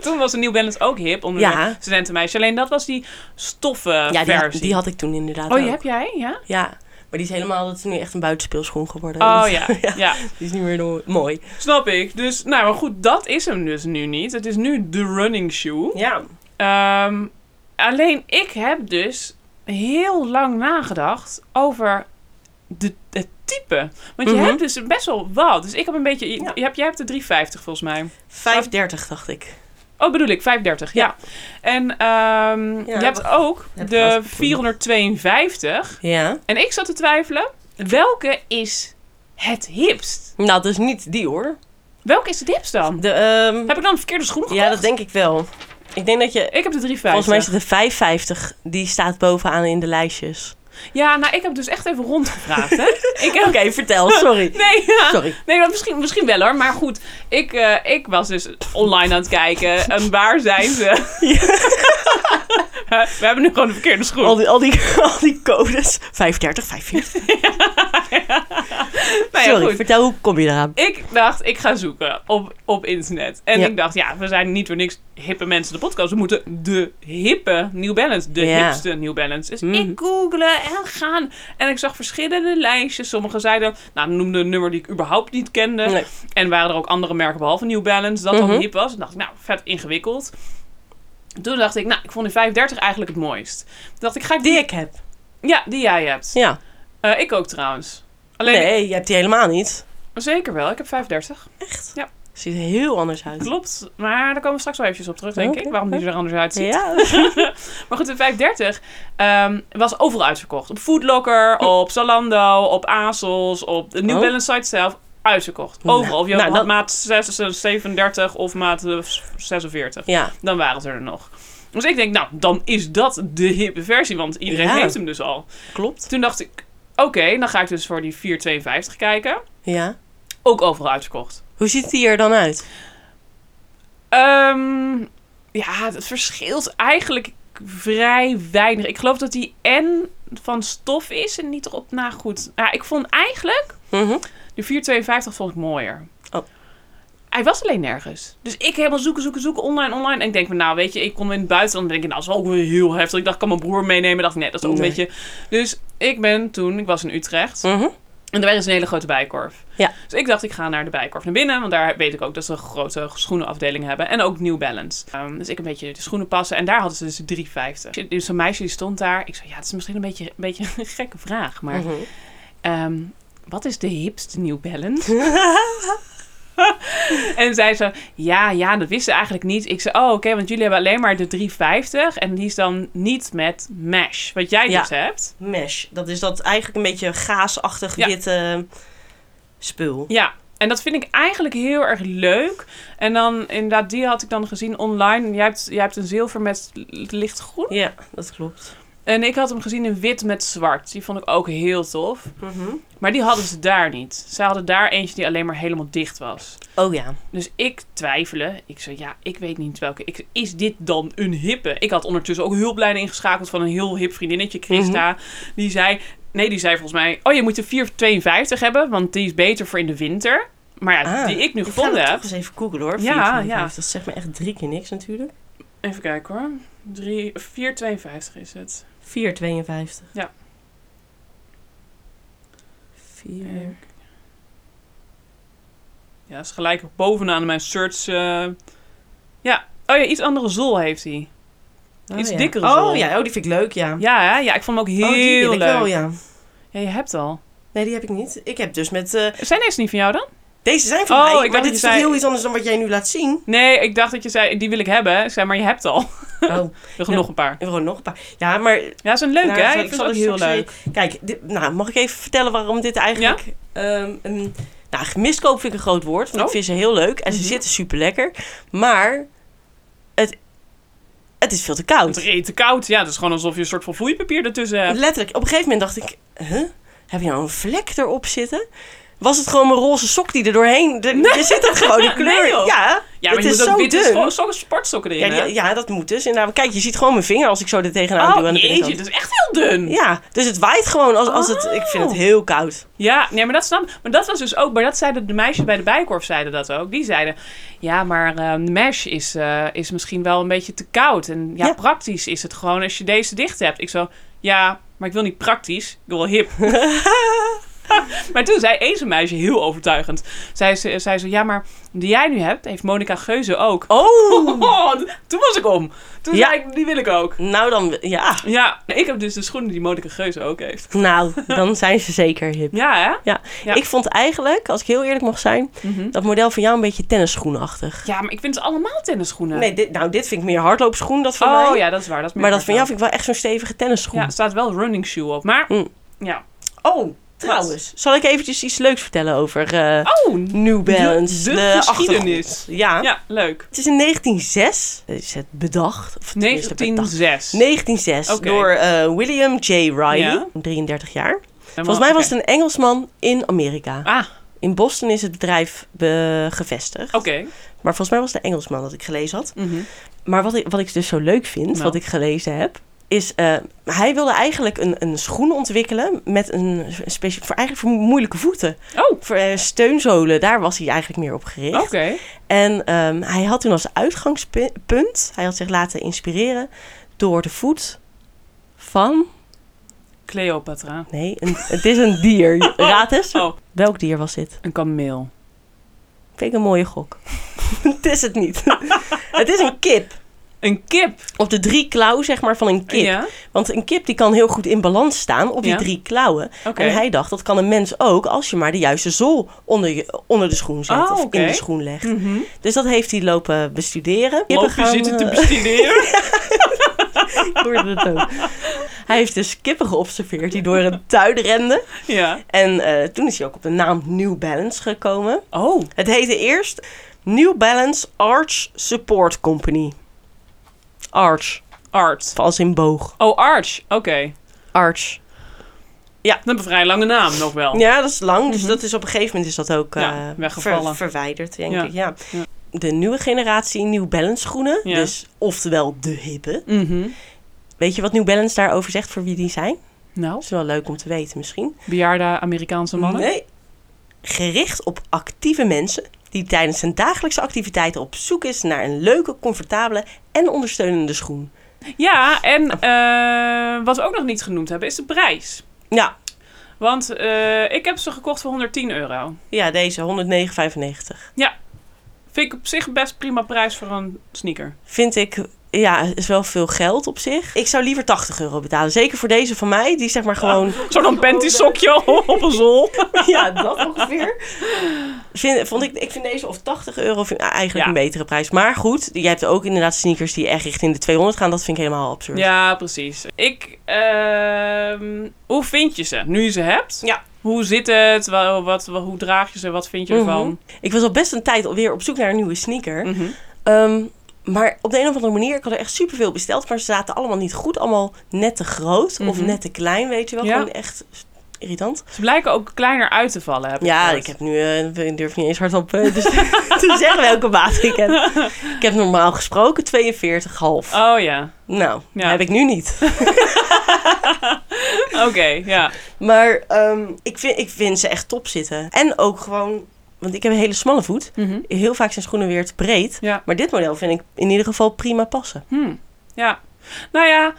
S4: Toen was de New Balance ook hip onder
S3: Ja.
S4: de studentenmeisje. Alleen dat was die stoffen
S3: Ja, die, had-
S4: versie.
S3: die had ik toen inderdaad
S4: oh,
S3: ook.
S4: die heb jij? Ja?
S3: Ja, maar die is helemaal, dat is nu echt een buitenspeelschoen geworden.
S4: Oh
S3: Dat- [laughs]
S4: ja, ja.
S3: Die is niet meer no- mooi.
S4: Snap ik. Dus, nou, maar goed, dat is hem dus nu niet. Het is nu de running shoe.
S3: Ja.
S4: Ehm, alleen ik heb dus heel lang nagedacht over de, het type. Want je
S3: Mhm.
S4: hebt dus best wel wat. Dus ik heb een beetje. Je,
S3: Ja.
S4: je hebt, jij hebt de 350 volgens mij.
S3: 5,30 dacht ik.
S4: Oh, bedoel ik, 530, ja. En ehm,
S3: Ja,
S4: je hebt
S3: dat-
S4: ook
S3: heb ik wel eens
S4: de
S3: gevoeld.
S4: 452.
S3: Ja.
S4: En ik zat te twijfelen, welke is het hipst?
S3: Nou, dat is niet die hoor.
S4: Welke is het hipst dan?
S3: De, ehm,
S4: Heb ik dan een verkeerde schoen gekocht?
S3: ja, dat denk ik wel. Ik denk dat je...
S4: Ik heb de 350.
S3: Volgens mij is het de 550, die staat bovenaan in de lijstjes.
S4: Ja, nou, ik heb dus echt even rondgevraagd,
S3: [laughs]
S4: hè. ik heb...
S3: Oké,
S4: [laughs]
S3: vertel, sorry.
S4: Nee, ja.
S3: Sorry.
S4: Nee, dat misschien, misschien wel hoor. Maar goed, ik, eh, ik was dus online aan het kijken. En waar zijn
S3: [laughs]
S4: ze? [laughs] We hebben nu gewoon de verkeerde schoen.
S3: Al die, al die, [laughs] al die codes. 530, 540.
S4: Nou ja,
S3: Sorry,
S4: goed.
S3: vertel, hoe kom je eraan?
S4: Ik dacht, ik ga zoeken op, op internet. En
S3: Ja.
S4: ik dacht, ja, we zijn niet voor niks hippe mensen de podcast. We moeten de hippe New Balance, de
S3: Ja.
S4: hipste New Balance. Dus
S3: Mhm.
S4: ik googelen en gaan. En ik zag verschillende lijstjes. Sommigen zeiden, nou, noemden een nummer die ik überhaupt niet kende.
S3: Nee.
S4: En waren er ook andere merken behalve New Balance dat
S3: Mhm.
S4: dan hip was. En dacht ik, nou, vet ingewikkeld. Toen dacht ik, nou, ik vond de 35 eigenlijk het mooist. Toen dacht ik, ga ik
S3: Die ik heb.
S4: Ja, die jij hebt.
S3: Ja.
S4: Eh, ik ook trouwens. Alleen,
S3: Nee, je hebt die helemaal niet.
S4: zeker wel. Ik heb 35.
S3: Echt?
S4: Ja.
S3: Ziet er heel anders uit.
S4: Klopt, maar daar komen we straks wel eventjes op terug, denk
S3: Oké.
S4: ik. Waarom die er anders
S3: [laughs]
S4: uitziet.
S3: Ja.
S4: Maar goed, de 530 ehm, was overal uitverkocht. Op Foodlocker, op Zalando, op ASOS, op de New
S3: Oh.
S4: Balance site zelf. Uitverkocht.
S3: Nou,
S4: Overal. Of je
S3: nou,
S4: had
S3: dat-
S4: maat 36, 37 of maat eh, 46.
S3: Ja.
S4: Dan waren ze er nog. Dus ik denk, nou, dan is dat de hippe versie, want iedereen
S3: Ja.
S4: heeft hem dus al.
S3: Klopt.
S4: Toen dacht ik, oké, dan ga ik dus voor die 452 kijken.
S3: Ja.
S4: Ook overal uitverkocht.
S3: Hoe ziet die er dan uit?
S4: Ehm, ja, het verschilt eigenlijk vrij weinig. Ik geloof dat die N van stof is en niet erop na goed. Ja, ik vond eigenlijk
S3: Mhm.
S4: de 452 vond ik mooier.
S3: Oh.
S4: Hij was alleen nergens. Dus ik helemaal zoeken, zoeken, zoeken, online, online. En ik denk van, nou weet je, ik kom in het buitenland. En denk ik, nou, dat is wel ook weer heel heftig. Ik dacht, ik kan mijn broer meenemen. Ik dacht, nee, dat is ook
S3: Nee.
S4: een beetje... Dus ik ben toen, ik was in Utrecht.
S3: Mhm.
S4: En daar is een hele grote bijkorf.
S3: Ja.
S4: Dus ik dacht, ik ga naar de bijkorf naar binnen. Want daar weet ik ook dat ze een grote schoenenafdeling hebben. En ook New Balance. Ehm, dus ik een beetje de schoenen passen. En daar hadden ze dus 3,50. Dus een meisje die stond daar. Ik zei, ja, het is misschien een beetje, een beetje een [laughs] gekke vraag. Maar
S3: Mhm.
S4: ehm, wat is de hipste New Balance?
S3: [laughs]
S4: [laughs] en zij zo, ja, ja, dat wist ze eigenlijk niet. Ik zei, oh, oké, want jullie hebben alleen maar de 3,50. En die is dan niet met mesh. Wat jij
S3: Ja.
S4: dus hebt.
S3: Mesh. Dat is dat eigenlijk een beetje gaasachtig
S4: Ja.
S3: witte eh, spul.
S4: Ja, en dat vind ik eigenlijk heel erg leuk. En dan inderdaad, die had ik dan gezien online. Jij hebt, jij hebt een zilver met l- lichtgroen.
S3: Ja, dat klopt.
S4: En ik had hem gezien in wit met zwart. Die vond ik ook heel tof.
S3: Mhm.
S4: Maar die hadden ze daar niet. Ze hadden daar eentje die alleen maar helemaal dicht was.
S3: Oh ja.
S4: Dus ik twijfelde. Ik zei, ja, ik weet niet welke. Ik, zei, is dit dan een hippe? Ik had ondertussen ook hulplijn ingeschakeld van een heel hip vriendinnetje, Christa.
S5: Mhm.
S4: Die zei, nee, die zei volgens mij... Oh, je moet de 452 hebben, want die is beter voor in de winter. Maar ja,
S3: Ah,
S4: die ik nu
S3: Ik ga dat
S4: gevonden heb...
S3: toch eens even googlen hoor.
S4: Ja,
S3: 4,55.
S4: ja.
S3: Dat zegt me echt drie keer niks natuurlijk.
S4: Even kijken hoor. 3, 4,52 is het.
S3: 4,52.
S4: Ja.
S3: 4.
S4: Ja, dat is gelijk bovenaan mijn search. eh. Ja, oh ja, iets andere zool heeft hij. Iets
S5: ja.
S4: dikkere zool.
S5: Oh ja, oh, die vind ik leuk, ja.
S4: Ja, hè? ja, ik vond hem ook heel
S5: oh, die wil
S4: leuk.
S5: ik wel, ja.
S4: Ja, je hebt al.
S5: Nee, die heb ik niet. Ik heb dus met... eh,
S4: Zijn deze niet van jou dan?
S5: deze zijn van
S4: Oh, ik
S5: mij,
S4: dacht
S5: maar dit
S4: dat je
S5: is toch
S4: zei-
S5: heel iets anders dan wat jij nu laat
S4: [laughs]
S5: zien?
S4: Nee, ik dacht dat je zei, die wil ik hebben. Ik zei, maar je hebt al. [laughs]
S5: Oh,
S4: Nog, nog een paar.
S5: gewoon nog een paar. Ja, maar...
S4: Ja, zijn leuk,
S5: nou,
S4: hè?
S5: zal-
S3: dus
S4: Ik vind
S5: zal
S4: het ook heel
S5: straks
S4: leuk.
S5: even- Kijk, dit- nou, mag ik even vertellen waarom dit eigenlijk... ehm, een-
S3: Nou, miskoop vind ik een groot woord, want
S4: Oh.
S3: ik vind ze heel leuk en ze zitten super lekker. Maar het, het is veel te
S4: Het
S3: koud.
S4: reet te koud. Ja, het is gewoon alsof je een soort van vloeipapier ertussen hebt.
S3: Letterlijk, op een gegeven moment dacht ik, huh? heb je nou een vlek erop zitten? Was het gewoon mijn roze sok die er doorheen... Er, er zit het gewoon,
S4: [laughs]
S3: de kleur.
S4: Nee, joh.
S3: ja,
S4: Ja, maar
S3: het
S4: je
S3: is
S4: moet ook
S3: zo
S4: witte
S3: dun.
S4: scho- sokken, sportsokken erin,
S3: Ja,
S4: hè?
S3: ja, ja, dat moet dus. Inderdaad. Kijk, je ziet gewoon mijn vinger als ik zo er tegenaan duw.
S4: oh,
S3: aan de
S4: jeetje,
S3: binnenkant.
S4: dat is echt heel dun. Ja.
S3: Ja, dus het waait gewoon. Als, als het, ik vind het
S4: Oh.
S3: heel koud.
S4: nee, maar dat snap Maar dat was dus ook... Maar dat zeiden de meisjes bij de Bijkorf, zeiden dat ook. Die zeiden, ja, maar eh, de mesh is, eh, is misschien wel een beetje te koud. En ja,
S3: Ja.
S4: praktisch is het gewoon als je deze dicht hebt. Ik zo, ja, maar ik wil niet praktisch. Ik wil wel
S3: [laughs]
S4: hip. [laughs] maar toen zei eens een meisje, heel overtuigend, zei ze, zei ze ja, maar die jij nu hebt, heeft Monica Geuze ook.
S3: Oh!
S4: [laughs] Oh, toen was ik om. Toen
S3: Ja.
S4: zei ik, die wil ik
S3: [laughs]
S4: ook.
S3: Nou, dan... Ja.
S4: Ja, ik heb dus de schoenen die Monica Geuze ook heeft.
S3: Nou,
S4: [laughs]
S3: dan zijn ze zeker hip.
S4: Ja, hè?
S3: Ja.
S4: Ja.
S3: ik vond eigenlijk, als ik heel eerlijk mag zijn, dat model van jou een beetje tennisschoenachtig.
S4: Ja, maar ik vind het allemaal tennisschoenen.
S3: Nee, dit, nou, dit vind ik meer hardloopschoen, dat van
S4: oh
S3: mij.
S4: ja, dat is waar. Dat is
S3: Maar dat van
S4: meer
S3: jou vind ik wel echt zo'n stevige tennisschoen.
S4: Ja, er staat wel running shoe op. Maar,
S3: Mm.
S4: ja.
S3: Oh, trouwens. Zal ik eventjes iets leuks vertellen over eh,
S4: Oh,
S3: New Balance?
S4: de geschiedenis.
S3: achtergrond. Ja.
S4: ja, leuk.
S3: Het is in 1906 is het bedacht. Of tenminste bedacht.
S4: 1906.
S3: 1906
S4: Oké.
S3: door eh, William J. Riley,
S4: Ja.
S3: 33 jaar. Volgens mij was het een Engelsman in Amerika.
S4: Ah, oké.
S3: In Boston is het bedrijf eh, gevestigd. Maar volgens mij was het een Engelsman dat ik gelezen had.
S4: Mhm.
S3: Maar wat ik, wat ik dus zo leuk vind,
S4: Nou.
S3: wat ik gelezen heb, is eh, hij wilde eigenlijk een, een schoen ontwikkelen met een speciaal voor eigenlijk voor moeilijke voeten.
S4: Oh,
S3: Voor eh, steunzolen, daar was hij eigenlijk meer op gericht.
S4: oké.
S3: En ehm, hij had toen als uitgangspunt, hij had zich laten inspireren door de voet van.
S4: Cleopatra.
S3: Nee, een, het is een
S4: [laughs]
S3: dier. Raad eens.
S4: Oh,
S3: Welk dier was dit?
S4: een kameel.
S3: Vind ik een mooie gok. [laughs] het is het niet. [laughs] het is een kip.
S4: Een kip.
S3: Op de drie klauw, zeg maar, van een kip.
S4: Ja,
S3: Want een kip die kan heel goed in balans staan op die
S4: Ja.
S3: drie klauwen.
S4: oké.
S3: En hij dacht, dat kan een mens ook als je maar de juiste zool onder, je, onder de schoen zet.
S4: Oh,
S3: of
S4: oké.
S3: in de schoen legt.
S4: Mhm.
S3: Dus dat heeft hij lopen bestuderen. Kippen
S4: Loop je
S3: gaan,
S4: zitten te
S3: eh, [laughs]
S4: bestuderen.
S3: Ik hoorde het ook. Hij heeft dus kippen geobserveerd die door een tuin renden.
S4: ja.
S3: En eh, toen is hij ook op de naam New Balance gekomen.
S4: Oh,
S3: Het heette eerst New Balance Arch Support Company. Arch,
S4: art.
S3: als in boog.
S4: Oh, Arch. Oké.
S3: Arch.
S4: Dat is een vrij lange naam nog wel.
S3: Ja, dat is lang. Dus dat is op een gegeven moment is dat ook eh,
S4: Mhm. Ja, weggevallen.
S3: ver- verwijderd, denk
S4: Ja.
S3: ik. Ja.
S4: Ja.
S3: De nieuwe generatie New Balance schoenen,
S4: Ja.
S3: dus oftewel de hippe.
S4: Mhm.
S3: Weet je wat New Balance daarover zegt voor wie die zijn?
S4: Nou,
S3: Dat is wel leuk om te weten misschien.
S4: bejaarde Amerikaanse mannen.
S3: Nee. Gericht op actieve mensen die tijdens hun dagelijkse activiteiten op zoek is naar een leuke, comfortabele en ondersteunende schoen.
S4: Ja, en eh, wat we ook nog niet genoemd hebben, is de prijs.
S3: Ja,
S4: Want eh, ik heb ze gekocht voor 110 euro.
S3: ja deze 109,95.
S4: Vind ik op zich best prima prijs voor een sneaker.
S3: Vind ik, ja, is wel veel geld op zich. Ik zou liever 80 euro betalen. Zeker voor deze van mij, die zeg maar
S4: [laughs]
S3: gewoon...
S4: Zo'n panty sokje op een
S3: [laughs]
S4: zol.
S3: ja, dat ongeveer. Vind, vond ik, ik vind deze of 80 euro vind, ik eigenlijk
S4: Ja.
S3: een betere prijs. Maar goed, je hebt ook inderdaad sneakers die echt richting de 200 gaan. Dat vind ik helemaal absurd.
S4: Ja, precies. Ik, ehm, hoe vind je ze? Nu je ze hebt?
S3: Ja.
S4: Hoe zit het? Wat, wat, wa- hoe draag je ze? Wat vind je ervan?
S3: Ik was al best een tijd alweer op zoek naar een nieuwe sneaker.
S4: Mhm.
S3: Ehm, maar op de een of andere manier, ik had er echt superveel besteld. Maar ze zaten allemaal niet goed. Allemaal net te groot of
S4: Mhm.
S3: net te klein, weet je wel.
S4: Ja.
S3: Gewoon echt irritant.
S4: Ze blijken ook kleiner uit te vallen. Heb ik
S3: Ja,
S4: gehoord.
S3: ik heb nu, eh, ik durf niet eens hardop eh, dus te [laughs] zeggen welke maat ik heb. Ik heb normaal gesproken 42,5.
S4: Oh ja.
S3: Nou,
S4: Ja.
S3: heb ik nu niet.
S4: Oké, ja.
S3: Maar ehm, ik, vind, ik vind ze echt top zitten. En ook gewoon, want ik heb een hele smalle voet.
S4: Mhm.
S3: Heel vaak zijn schoenen weer te breed.
S4: Ja.
S3: Maar dit model vind ik in ieder geval prima passen.
S4: Hmm, Ja. Nou ja,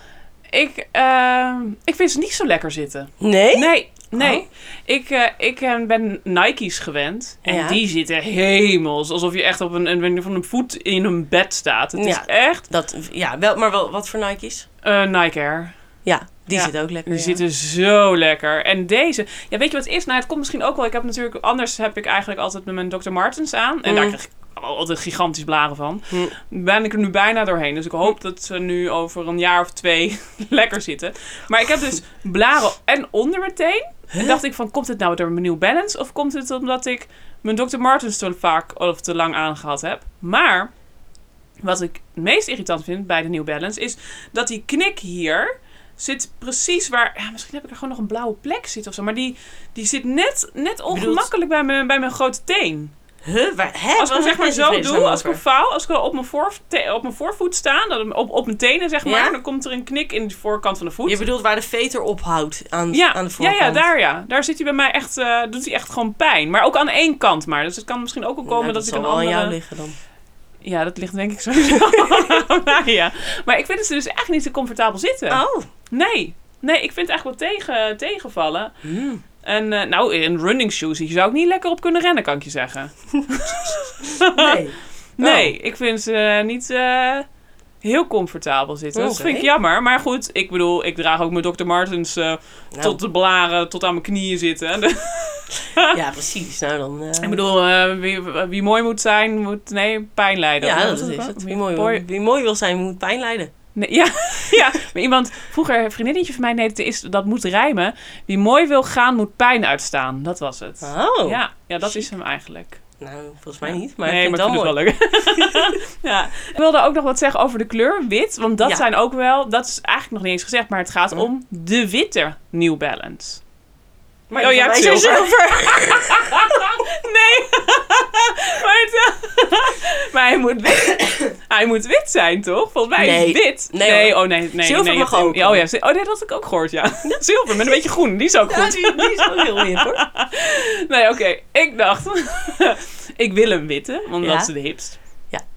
S4: ik, ehm, ik vind ze niet zo lekker zitten.
S3: Nee?
S4: Nee, Nee,
S3: Oh.
S4: ik, eh, ik eh, ben Nike's gewend. En
S3: Ja.
S4: die zitten hemels. Alsof je echt op een, een, een- van een voet in een bed staat. Het is
S3: Ja.
S4: echt
S3: Dat, ja, wel, maar wel, wat voor Nike's?
S4: eh Nike Air.
S3: Ja, die
S4: Ja.
S3: zit ook lekker.
S4: Die
S3: ja.
S4: zitten zo lekker. En deze, ja, weet je wat het is? Nou, het komt misschien ook wel. Ik heb natuurlijk, anders heb ik eigenlijk altijd met mijn Dr. Martens aan. En daar
S3: Mm.
S4: krijg ik altijd gigantisch blaren van.
S3: Mm.
S4: Ben ik er nu bijna doorheen. Dus ik hoop dat ze nu over een jaar of twee [laughs] lekker zitten. Maar ik heb dus blaren en onder mijn teen. En dacht ik van, komt het nou door mijn New Balance? Of komt het omdat ik mijn Dr. Martens te vaak of te lang aangehad heb? Maar, wat ik het meest irritant vind bij de New Balance... is dat die knik hier zit precies waar... Ja, misschien heb ik er gewoon nog een blauwe plek zitten of zo. Maar die, die zit net, net ongemakkelijk bij mijn, bij mijn grote teen.
S3: Huh, waar, hè,
S4: Als ik hem
S3: waar
S4: zeg maar
S3: is
S4: zo
S3: het nou
S4: doe, als ik
S3: over?
S4: hem vouw... als ik hem op mijn, voorvoet, op mijn voorvoet sta, dan op, op mijn tenen zeg maar...
S3: Ja?
S4: dan komt er een knik in de voorkant van de voet.
S3: Je bedoelt waar de veter ophoudt aan,
S4: Ja,
S3: aan de
S4: ja,
S3: voorkant.
S4: ja, daar ja. Daar zit hij bij mij echt, eh, doet hij echt gewoon pijn. Maar ook aan één kant maar. Dus het kan misschien ook wel komen
S3: Nou,
S4: dat,
S3: zal
S4: ik een
S3: wel
S4: andere...
S3: aan jou liggen dan.
S4: Ja, dat ligt denk ik sowieso [laughs] aan mij, ja. Maar ik vind ze dus echt niet zo comfortabel zitten.
S3: Oh.
S4: Nee, nee, ik vind het echt wel tegen, tegenvallen.
S3: Hmm.
S4: [laughs] En eh, nou, in running shoes, hier zou ik niet lekker op kunnen rennen, kan ik je zeggen.
S3: Nee.
S4: Nee, ik vind ze eh, niet eh, heel comfortabel zitten. Dat
S3: Oké.
S4: vind ik jammer. Maar goed, ik bedoel, ik draag ook mijn Dr. Martens eh,
S3: Nou,
S4: tot de blaren, tot aan mijn knieën zitten. [laughs]
S3: Ja, precies. Nou, dan... eh,
S4: Ik bedoel, eh, wie, wie mooi moet zijn, moet nee, pijn lijden.
S3: ja,
S4: Hoe
S3: dat,
S4: was
S3: is
S4: ook?
S3: het. Wie mooi,
S4: Mooi-
S3: wil, wie mooi wil zijn, moet pijn lijden.
S4: Nee, ja, [laughs] ja, maar iemand, vroeger, een vriendinnetje van mij, nee, dat, is, dat moet rijmen. Wie mooi wil gaan, moet pijn uitstaan. Dat was het.
S3: Oh.
S4: Ja, ja, dat is hem eigenlijk.
S3: Nou, volgens mij niet. Maar
S4: nee,
S3: ik vind
S4: maar
S3: het wel mooi.
S4: ik vind het wel leuk. [laughs] ja. Ik wilde ook nog wat zeggen over de kleur wit. Want dat
S3: Ja.
S4: zijn ook wel, dat is eigenlijk nog niet eens gezegd, maar het gaat
S3: Hm.
S4: om de witte New Balance.
S3: Maar
S4: Oh,
S3: die
S4: jij
S3: van
S4: hebt
S3: mij zijn
S4: zilver.
S3: zilver.
S4: Nee, [laughs] maar, het, [laughs] maar hij, moet wit, [coughs] hij moet wit zijn, toch? Volgens mij
S3: Nee.
S4: is wit.
S3: Nee, hoor.
S4: oh nee, nee.
S3: Zilver
S4: nee, je
S3: mag
S4: hebt-
S3: ook.
S4: Oh, ja, zi- oh nee, dat had ik ook gehoord, ja.
S3: [laughs]
S4: Zilver met een beetje groen, die is
S3: [laughs]
S4: ook
S3: Ja,
S4: goed.
S3: [laughs] die, die is wel heel wit, hoor.
S4: Nee, oké, ik dacht, [laughs] ik wil hem witte, want
S3: Ja.
S4: dat is de hipst.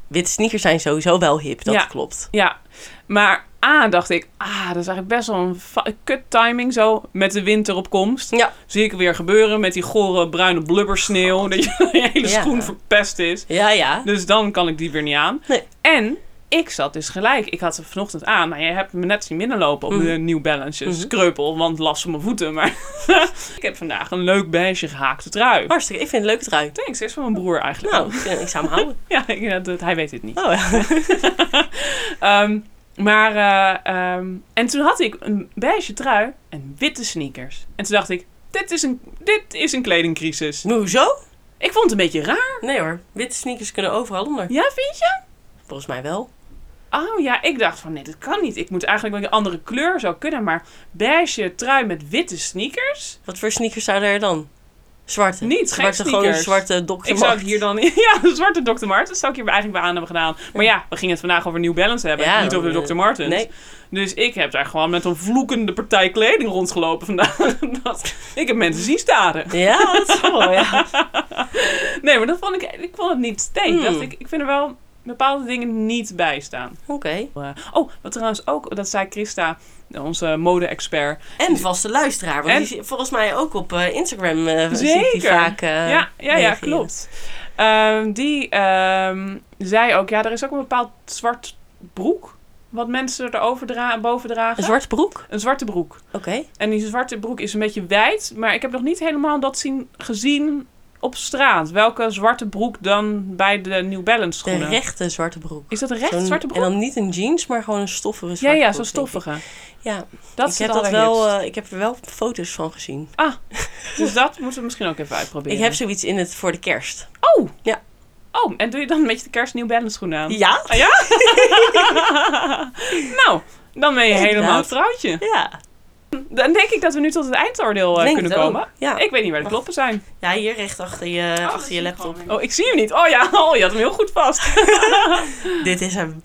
S3: Witte sneakers zijn sowieso wel hip, dat
S4: Ja.
S3: klopt.
S4: Ja, maar A dacht ik, ah, dat is eigenlijk best wel een fa- kut timing zo met de winter op komst.
S3: Ja. Oh.
S4: Zie ik weer gebeuren met die gore bruine blubbersneeuw, dat je, [laughs] je hele
S3: Ja.
S4: schoen verpest is.
S3: Ja, ja.
S4: Dus dan kan ik die weer niet aan.
S3: Nee.
S4: En ik zat dus gelijk. Ik had ze vanochtend aan. Nou, je hebt me net zien binnenlopen op
S3: Mhm.
S4: de New Balance. Kreupel, want last van mijn voeten. Maar [laughs] ik heb vandaag een leuk beige gehaakte trui.
S3: Hartstikke. Ik vind het leuk eruit.
S4: Thanks, is van mijn broer eigenlijk.
S3: Oh. Nou, ik, ik zou hem
S4: [laughs]
S3: houden.
S4: Ja, ik, ja, dat, hij weet het niet.
S3: Oh, ja.
S4: Ehm, maar, eh, ehm, en toen had ik een beige trui en witte sneakers. En toen dacht ik, dit is een, dit is een kledingcrisis.
S3: Maar hoezo?
S4: Ik vond het een beetje raar.
S3: Nee hoor. Witte sneakers kunnen overal onder.
S4: Ja, vind je?
S3: Volgens mij wel.
S4: Oh ja, ik dacht van nee, dat kan niet. Ik moet eigenlijk wel een andere kleur zou kunnen. Maar beige trui met witte sneakers?
S3: Wat voor sneakers zouden er dan? Zwarte.
S4: Niet, geen
S3: zwarte, gewoon een
S4: sneakers.
S3: zwarte Dr.
S4: Ik zou het
S3: Martens.
S4: hier dan... [laughs] Ja, de zwarte Dr. Martens zou ik hier eigenlijk bij aan hebben gedaan. Maar ja, we gingen het vandaag over New Balance hebben.
S3: Ja,
S4: niet over de
S3: eh,
S4: Dr. Martens.
S3: Nee.
S4: Dus ik heb daar gewoon met een vloekende partij kleding rondgelopen vandaag. [laughs] Dat, ik heb mensen zien staren.
S3: Ja, dat is wel, ja.
S4: [laughs] Nee, maar dat vond ik... Ik vond het niet steek.
S3: Hmm.
S4: Dacht ik, ik vind er wel bepaalde dingen niet bij staan.
S3: [laughs] Oké.
S4: Eh, oh, wat trouwens ook... Dat zei Christa, onze mode-expert.
S3: En vaste luisteraar. Want
S4: En-
S3: die zie- volgens mij ook op eh, Instagram eh zie ik die
S4: Zeker.
S3: vaak eh,
S4: ja, ja, ja,
S3: reageren.
S4: klopt. Ehm, die ehm, zei ook, ja, er is ook een bepaald zwart broek. Wat mensen erover dra- boven dragen.
S3: Een zwarte broek?
S4: Een zwarte broek.
S3: Oké.
S4: En die zwarte broek is een beetje wijd. Maar ik heb nog niet helemaal dat zien, gezien op straat. Welke zwarte broek dan bij de New Balance
S3: De
S4: schoenen.
S3: rechte zwarte broek.
S4: is dat een recht
S3: Zo'n-
S4: zwarte broek?
S3: En dan niet een jeans, maar gewoon een stoffige
S4: ja,
S3: zwarte
S4: ja,
S3: broek,
S4: zo'n
S3: denk ik.
S4: stoffige.
S3: Ja,
S4: Dat
S3: ik
S4: is
S3: heb,
S4: het
S3: dat wel,
S4: allerhipst.
S3: eh, ik heb er wel foto's van gezien.
S4: Dus dat moeten we misschien ook even uitproberen.
S3: Ik heb zoiets in het voor de kerst.
S4: Oh!
S3: Ja.
S4: Oh, en doe je dan een beetje de kerst New Balance schoenen aan?
S3: Ja?
S4: Ah, ja? nou, dan ben je helemaal het vrouwtje.
S3: Ja.
S4: Dan denk ik dat we nu tot het eindoordeel eh,
S3: Denk
S4: kunnen
S3: het ook.
S4: komen.
S3: Ja.
S4: Ik weet niet waar de kloppen zijn.
S3: ja, hier recht achter je, achter je laptop.
S4: [laughs] Oh, ik zie hem niet. Oh ja, oh, je had hem heel goed vast.
S3: Dit is hem.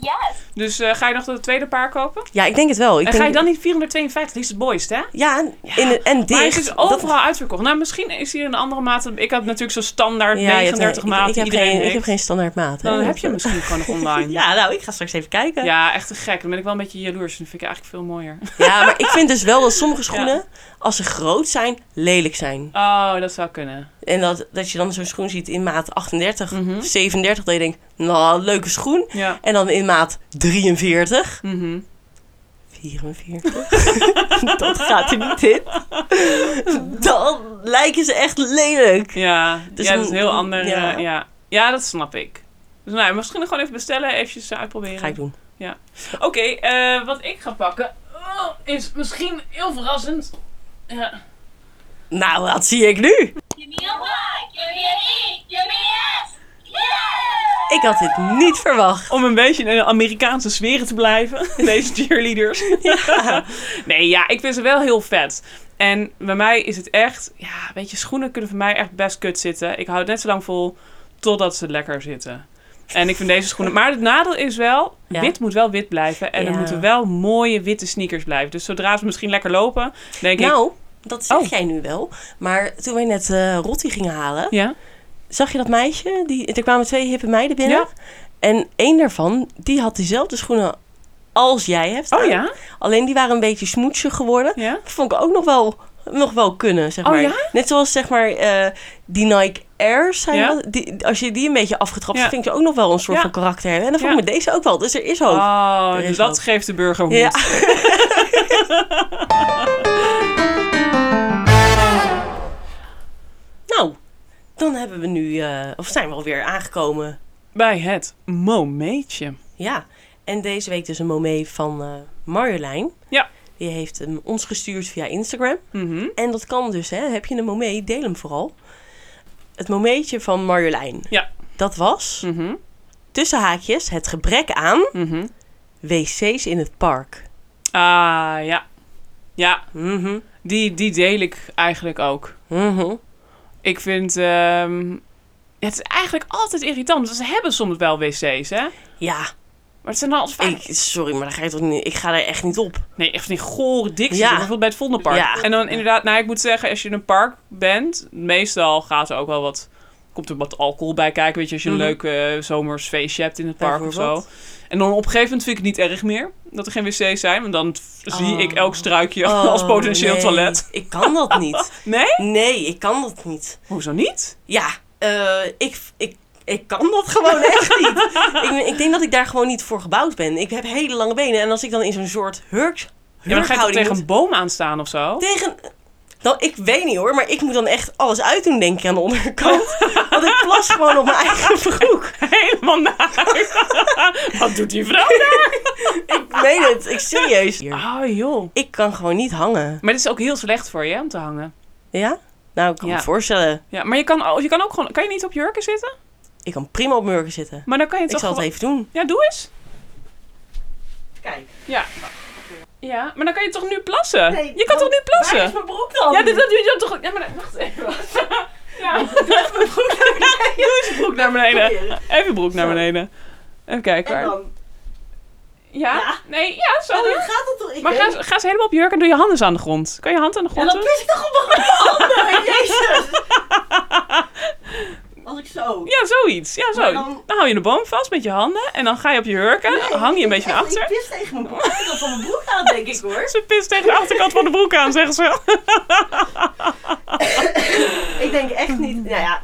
S6: Yes.
S4: Dus eh, ga je nog dat tweede paar kopen?
S3: Ja, ik denk het wel. Ik
S4: en
S3: denk-
S4: ga je dan niet 452? Die is het mooist, hè?
S3: Ja, en- in, en dicht.
S4: Maar het is
S3: dat-
S4: overal uitverkocht. Nou, misschien is hier een andere maat. Ik had natuurlijk zo'n standaard
S3: Ja, je hebt-
S4: 39
S3: ik-
S4: maat.
S3: Ik, heb
S4: iedereen
S3: geen, ik
S4: heeft.
S3: heb geen standaard maat. hè.
S4: Oh, Dan heb je hem misschien gewoon
S3: [laughs]
S4: nog online. ja.
S3: Ja, nou, ik ga straks even [laughs] kijken. Ja.
S4: echt te gek. Dan ben ik wel een beetje jaloers. Dat vind ik eigenlijk veel mooier.
S3: maar ik vind dus wel dat sommige schoenen, als ze groot zijn, lelijk zijn.
S4: Oh, dat zou kunnen.
S3: En dat, dat je dan zo'n schoen ziet in maat 38
S4: Mhm.
S3: of 37, dat je denkt, nou, leuke schoen.
S4: Ja.
S3: En dan in maat 43.
S4: Mhm.
S3: 44. [laughs] dat gaat er niet
S4: [laughs]
S3: in. Dan lijken ze echt lelijk.
S4: Ja,
S3: Dus
S4: ja,
S3: dan-
S4: dat is een heel ander.
S3: ja.
S4: Ja. ja. ja, dat snap ik. Dus nou, misschien gewoon even bestellen, eventjes eh, uitproberen.
S3: Ga ik doen.
S4: Oké, eh, wat ik ga pakken oh, is misschien heel verrassend. Ja.
S3: Nou, wat zie ik nu?
S6: Give me a Y. Give me an E. Give me an S. Yes.
S3: Ik had dit niet verwacht.
S4: Om een beetje in een Amerikaanse sfeer te blijven, [laughs] deze cheerleaders. nee, ja, ik vind ze wel heel vet. En bij mij is het echt, ja, weet je, schoenen kunnen voor mij echt best kut zitten. Ik hou het net zo lang vol totdat ze lekker zitten. En ik vind deze schoenen. Maar het nadeel is wel,
S3: Ja.
S4: wit moet wel wit blijven. En er
S3: Ja.
S4: moeten wel mooie witte sneakers blijven. Dus zodra ze misschien lekker lopen, denk ik.
S3: Nou, dat zeg
S4: Oh.
S3: jij nu wel. Maar toen wij net eh Rotti gingen halen,
S4: Ja?
S3: zag je dat meisje? Die, er kwamen twee hippe meiden binnen.
S4: Ja.
S3: En één daarvan, die had diezelfde schoenen als jij hebt.
S4: Oh
S3: aan.
S4: ja?
S3: Alleen die waren een beetje smoetsje geworden.
S4: Ja?
S3: Dat vond ik ook nog wel, nog wel kunnen, zeg
S4: Oh,
S3: maar.
S4: ja?
S3: Net zoals, zeg maar, eh, die Nike Airs zijn
S4: Ja.
S3: dat- die, Als je die een beetje afgetrapt,
S4: Ja.
S3: vind ik ze ook nog wel een soort
S4: Ja.
S3: van karakter hebben. En dan vond
S4: Ja.
S3: ik met deze ook wel. Dus er is hoop.
S4: Oh,
S3: Er is
S4: dat
S3: hoop.
S4: geeft de burger moed.
S3: Ja. [laughs] Nou, dan hebben we nu, eh, of zijn we alweer aangekomen.
S4: Bij het momentje.
S3: Ja, en deze week dus een moment van eh, Marjolein.
S4: Ja.
S3: Die heeft hem ons gestuurd via Instagram.
S4: Mhm.
S3: En dat kan dus, hè. Heb je een moment, deel hem vooral. Het momentje van Marjolein.
S4: Ja.
S3: Dat was,
S4: Mhm.
S3: tussen haakjes, het gebrek aan
S4: Mhm.
S3: wc's in het park.
S4: Ah, ja. Ja,
S3: Mhm,
S4: die, die deel ik eigenlijk ook.
S3: mhm.
S4: Ik vind... ehm, het is eigenlijk altijd irritant. want Ze hebben soms wel wc's, hè?
S3: Ja,
S4: Maar het zijn dan altijd vaak...
S3: ik, sorry, maar daar ga je toch niet, ik ga daar echt niet op. [laughs]
S4: Nee, echt die gore dikste.
S3: Ja.
S4: Ja. Bijvoorbeeld bij het Vondelpark.
S3: Ja.
S4: En dan inderdaad... Nou, ik moet zeggen, als je in een park bent... Meestal gaat er ook wel wat... Komt er wat alcohol bij kijken, weet je. Als je een
S3: Mhm.
S4: leuk eh, zomers feestje hebt in het park of zo.
S3: Bijvoorbeeld.
S4: En dan op een gegeven moment vind ik het niet erg meer dat er geen wc's zijn. Want dan f- zie
S3: Oh.
S4: ik elk struikje [laughs] als
S3: Oh,
S4: potentieel
S3: nee.
S4: toilet.
S3: Ik kan [laughs] dat niet.
S4: Nee?
S3: Nee, ik kan dat niet.
S4: Hoezo niet?
S3: Ja, eh, ik, ik, ik kan dat [laughs] gewoon echt niet. Ik, ben- ik denk dat ik daar gewoon niet voor gebouwd ben. Ik heb hele lange benen. En als ik dan in zo'n soort hurk,
S4: Ja, maar dan ga je toch
S3: hurkhouding
S4: tegen een boom aanstaan of zo?
S3: moet- tegen... Nou, ik weet niet hoor, maar ik moet dan echt alles uitdoen, denk ik, aan de [laughs] onderkant. Want ik plas gewoon op mijn eigen broek.
S4: [laughs] Helemaal naar. [laughs] Wat doet die vrouw daar?
S3: Ik meen het, ik serieus.
S4: [laughs] Ah, joh.
S3: Ik kan gewoon niet hangen.
S4: Maar het is ook heel slecht voor je om te hangen.
S3: Ja? Nou, ik kan
S4: Ja.
S3: me voorstellen.
S4: Ja, maar je kan, oh, je kan ook gewoon... Kan je niet op jurken zitten?
S3: Ik kan prima op murken zitten.
S4: Maar dan kan je
S3: Ik
S4: toch
S3: zal het
S4: gewoon...
S3: even doen.
S4: Ja, doe eens.
S3: Kijk.
S4: Ja. Ja, maar dan kan je toch nu plassen? je kan
S3: dan-
S4: toch nu plassen?
S3: mijn broek dan?
S4: Ja, dit dat doe je dan toch... Ja, maar wacht even. [laughs] Ja. [laughs] Doe eens je broek naar beneden. Even broek naar beneden. Even kijken waar. Ja? Nee, ja,
S3: Oh,
S4: zo. doen.
S5: gaat het toch? Ik
S4: Maar ga, eens- ga eens helemaal op jurk en doe je handen eens aan de grond. Kan je hand aan de grond doen?
S5: pis ik toch op mijn
S4: [laughs]
S5: handen, jezus! Als ik zo...
S4: Ja, zoiets. Ja, zo.
S5: Maar
S4: Dan...
S5: dan-
S4: hou je de boom vast met je handen en dan ga je op je hurken. hang je een beetje naar achter.
S5: pis tegen mijn broek. Ik had van mijn broek aan, denk ik hoor.
S4: Ze pist tegen de achterkant van de broek aan, zeggen ze.
S5: Ik denk echt niet... Nou ja,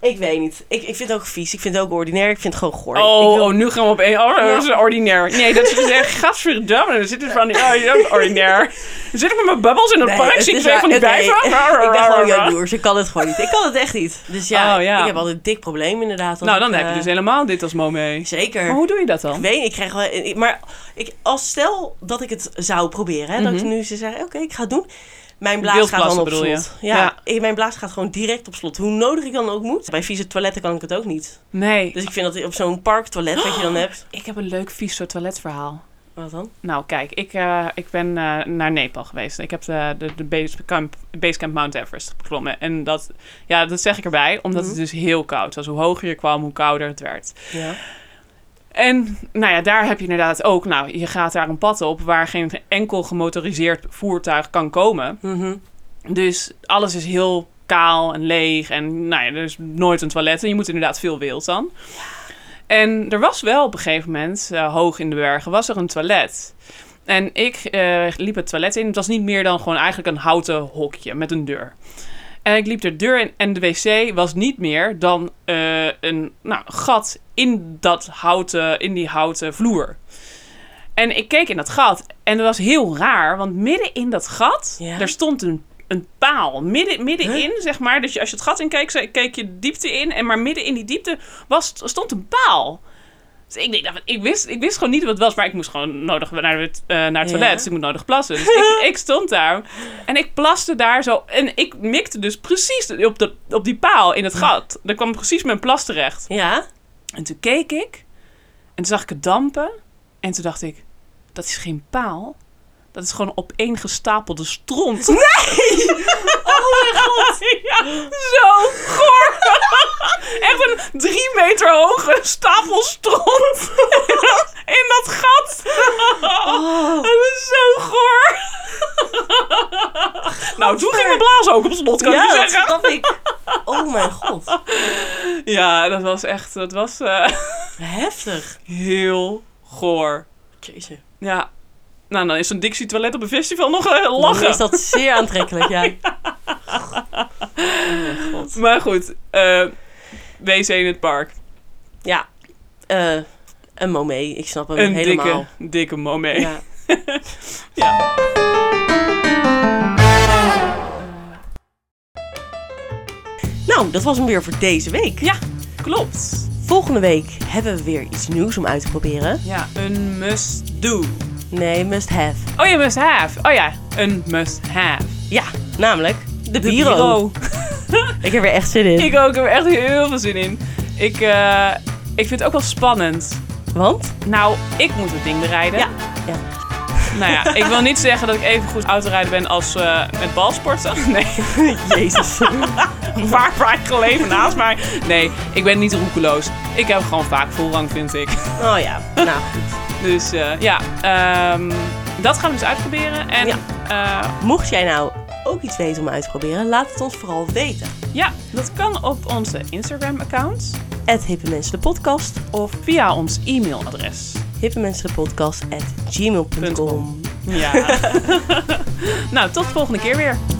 S3: Ik weet niet. Ik, ik vind het ook vies. Ik vind het ook ordinair. Ik vind het gewoon goor.
S4: Oh,
S3: Ik wil-
S4: oh, nu gaan we op één. Oh, dat is ordinair. Nee, dat
S5: [laughs]
S4: is echt gadverdamme. Er zitten van die. Oh, ja, ordinair. Zit ik met mijn bubbels in het
S3: Nee,
S4: park?
S3: het
S4: Zie ik
S3: is
S4: twee
S3: waar.
S4: van die
S3: Oké,
S4: bijven?
S3: [laughs] Ik ben
S4: [laughs]
S3: gewoon jaloers. Ik kan het gewoon niet. Ik kan het echt niet. Dus ja,
S4: Oh, ja.
S3: ik heb altijd een dik probleem inderdaad. als
S4: Nou,
S3: ik,
S4: dan heb je
S3: eh,
S4: dus helemaal dit als mo mee.
S3: Zeker.
S4: Maar hoe doe je dat dan?
S3: Ik weet, ik krijg wel... ik- Maar ik, als stel dat ik het zou proberen, hè, dat ik nu ze zeggen, oké, ik ga het doen. Mijn blaas gaat dan
S4: Wildplassen
S3: op
S4: Mhm. bedoel je?
S3: slot. Ja,
S4: Ja.
S3: ik- mijn blaas gaat gewoon direct op slot. Hoe nodig ik dan ook moet. Bij vieze toiletten kan ik het ook niet.
S4: Nee.
S3: Dus ik vind dat op zo'n parktoilet wat je
S4: [gasps]
S3: dan hebt...
S4: Ik heb een leuk vies soort toiletverhaal.
S3: Wat dan?
S4: Nou, kijk, ik, eh, ik ben eh, naar Nepal geweest. Ik heb de, de, de basecamp, basecamp Mount Everest beklommen. En dat, ja, dat zeg ik erbij, omdat het dus heel koud was. Hoe hoger je kwam, hoe kouder het werd.
S3: Ja.
S4: En nou ja, daar heb je inderdaad ook, nou, je gaat daar een pad op waar geen enkel gemotoriseerd voertuig kan komen. Dus alles is heel kaal en leeg en nou ja, er is nooit een toilet en je moet inderdaad veel wild dan. En er was wel op een gegeven moment, eh, hoog in de bergen, was er een toilet. En ik eh, liep het toilet in. Het was niet meer dan gewoon eigenlijk een houten hokje met een deur. En ik liep de deur in en de wc was niet meer dan eh, een nou, gat in, dat houten, in die houten vloer. En ik keek in dat gat en dat was heel raar, want midden in dat gat,
S5: Ja.
S4: daar stond een, een paal. Midden, middenin, zeg maar, dus je- als je het gat in keek, ze- keek je diepte in. En maar midden in die diepte was, stond een paal. Dus ik, denk, nou, ik, wist, ik wist gewoon niet wat het was, maar ik moest gewoon nodig naar, de, eh, naar het toilet. Dus ik moet nodig plassen. Dus ik, ik stond daar en ik plaste daar zo. En ik mikte dus precies op, de, op die paal in het gat. Daar kwam precies mijn plas terecht.
S5: Ja?
S4: En toen keek ik en toen zag ik het dampen. En toen dacht ik, dat is geen paal. Dat is gewoon opeen gestapelde stront. Nee! Oh [laughs] mijn god! [laughs] Ja, zo goor! [laughs] Echt een drie meter hoge stapel stront [laughs] in dat gat. Dat is zo goor! Nou, toen ging mijn blaas ook op slot, kan ik je
S5: ja, dat
S4: zeggen.
S5: snap ik. Oh mijn god.
S4: Ja, dat was echt, dat was eh,
S5: Heftig.
S4: heel goor.
S5: Jezus.
S4: Ja. Nou, dan is zo'n Dixie toilet op een festival nog eh, lachen.
S5: Dan is dat zeer aantrekkelijk,
S4: [laughs]
S5: ja.
S4: Maar goed, eh, wc in het park.
S5: Ja. Eh, een momee, ik snap hem
S4: Een
S5: helemaal.
S4: dikke, dikke moment.
S5: Ja.
S3: Nou, dat was hem weer voor deze week.
S4: Ja, klopt.
S3: Volgende week hebben we weer iets nieuws om uit te proberen.
S4: Ja, een must do.
S3: Nee, must have.
S4: Oh ja, must have. Oh ja, een must have.
S3: Ja, namelijk de,
S4: De
S3: bureau.
S4: bureau.
S3: Ik heb er echt zin in.
S4: [laughs] Ik ook, ik heb er echt heel veel zin in. Ik, eh, ik vind het ook wel spannend.
S3: Want? [laughs]
S4: Nou, ik moet het ding bereiden.
S3: Ja, ja.
S4: Nou ja, ik wil niet zeggen dat ik even goed autorijden ben als eh, met balsporten. [laughs] Nee.
S3: Jezus.
S4: [laughs] waar waar ik gelegen naast mij. Nee, ik ben niet roekeloos. Ik heb gewoon vaak voorrang, vind ik. [laughs]
S3: Oh ja, nou goed.
S4: Dus eh, ja, ehm, dat gaan we dus uitproberen. En eh,
S3: Ja.
S4: ja,
S3: Mocht jij nou ook iets weten om uit te proberen, laat het ons vooral weten.
S4: ja dat kan op onze Instagram-account
S3: Het Hippe Mensen de Podcast.
S4: of via ons e-mailadres.
S3: hippemensenpodcast.gmail.com.
S4: Ja. nou, tot de volgende keer weer.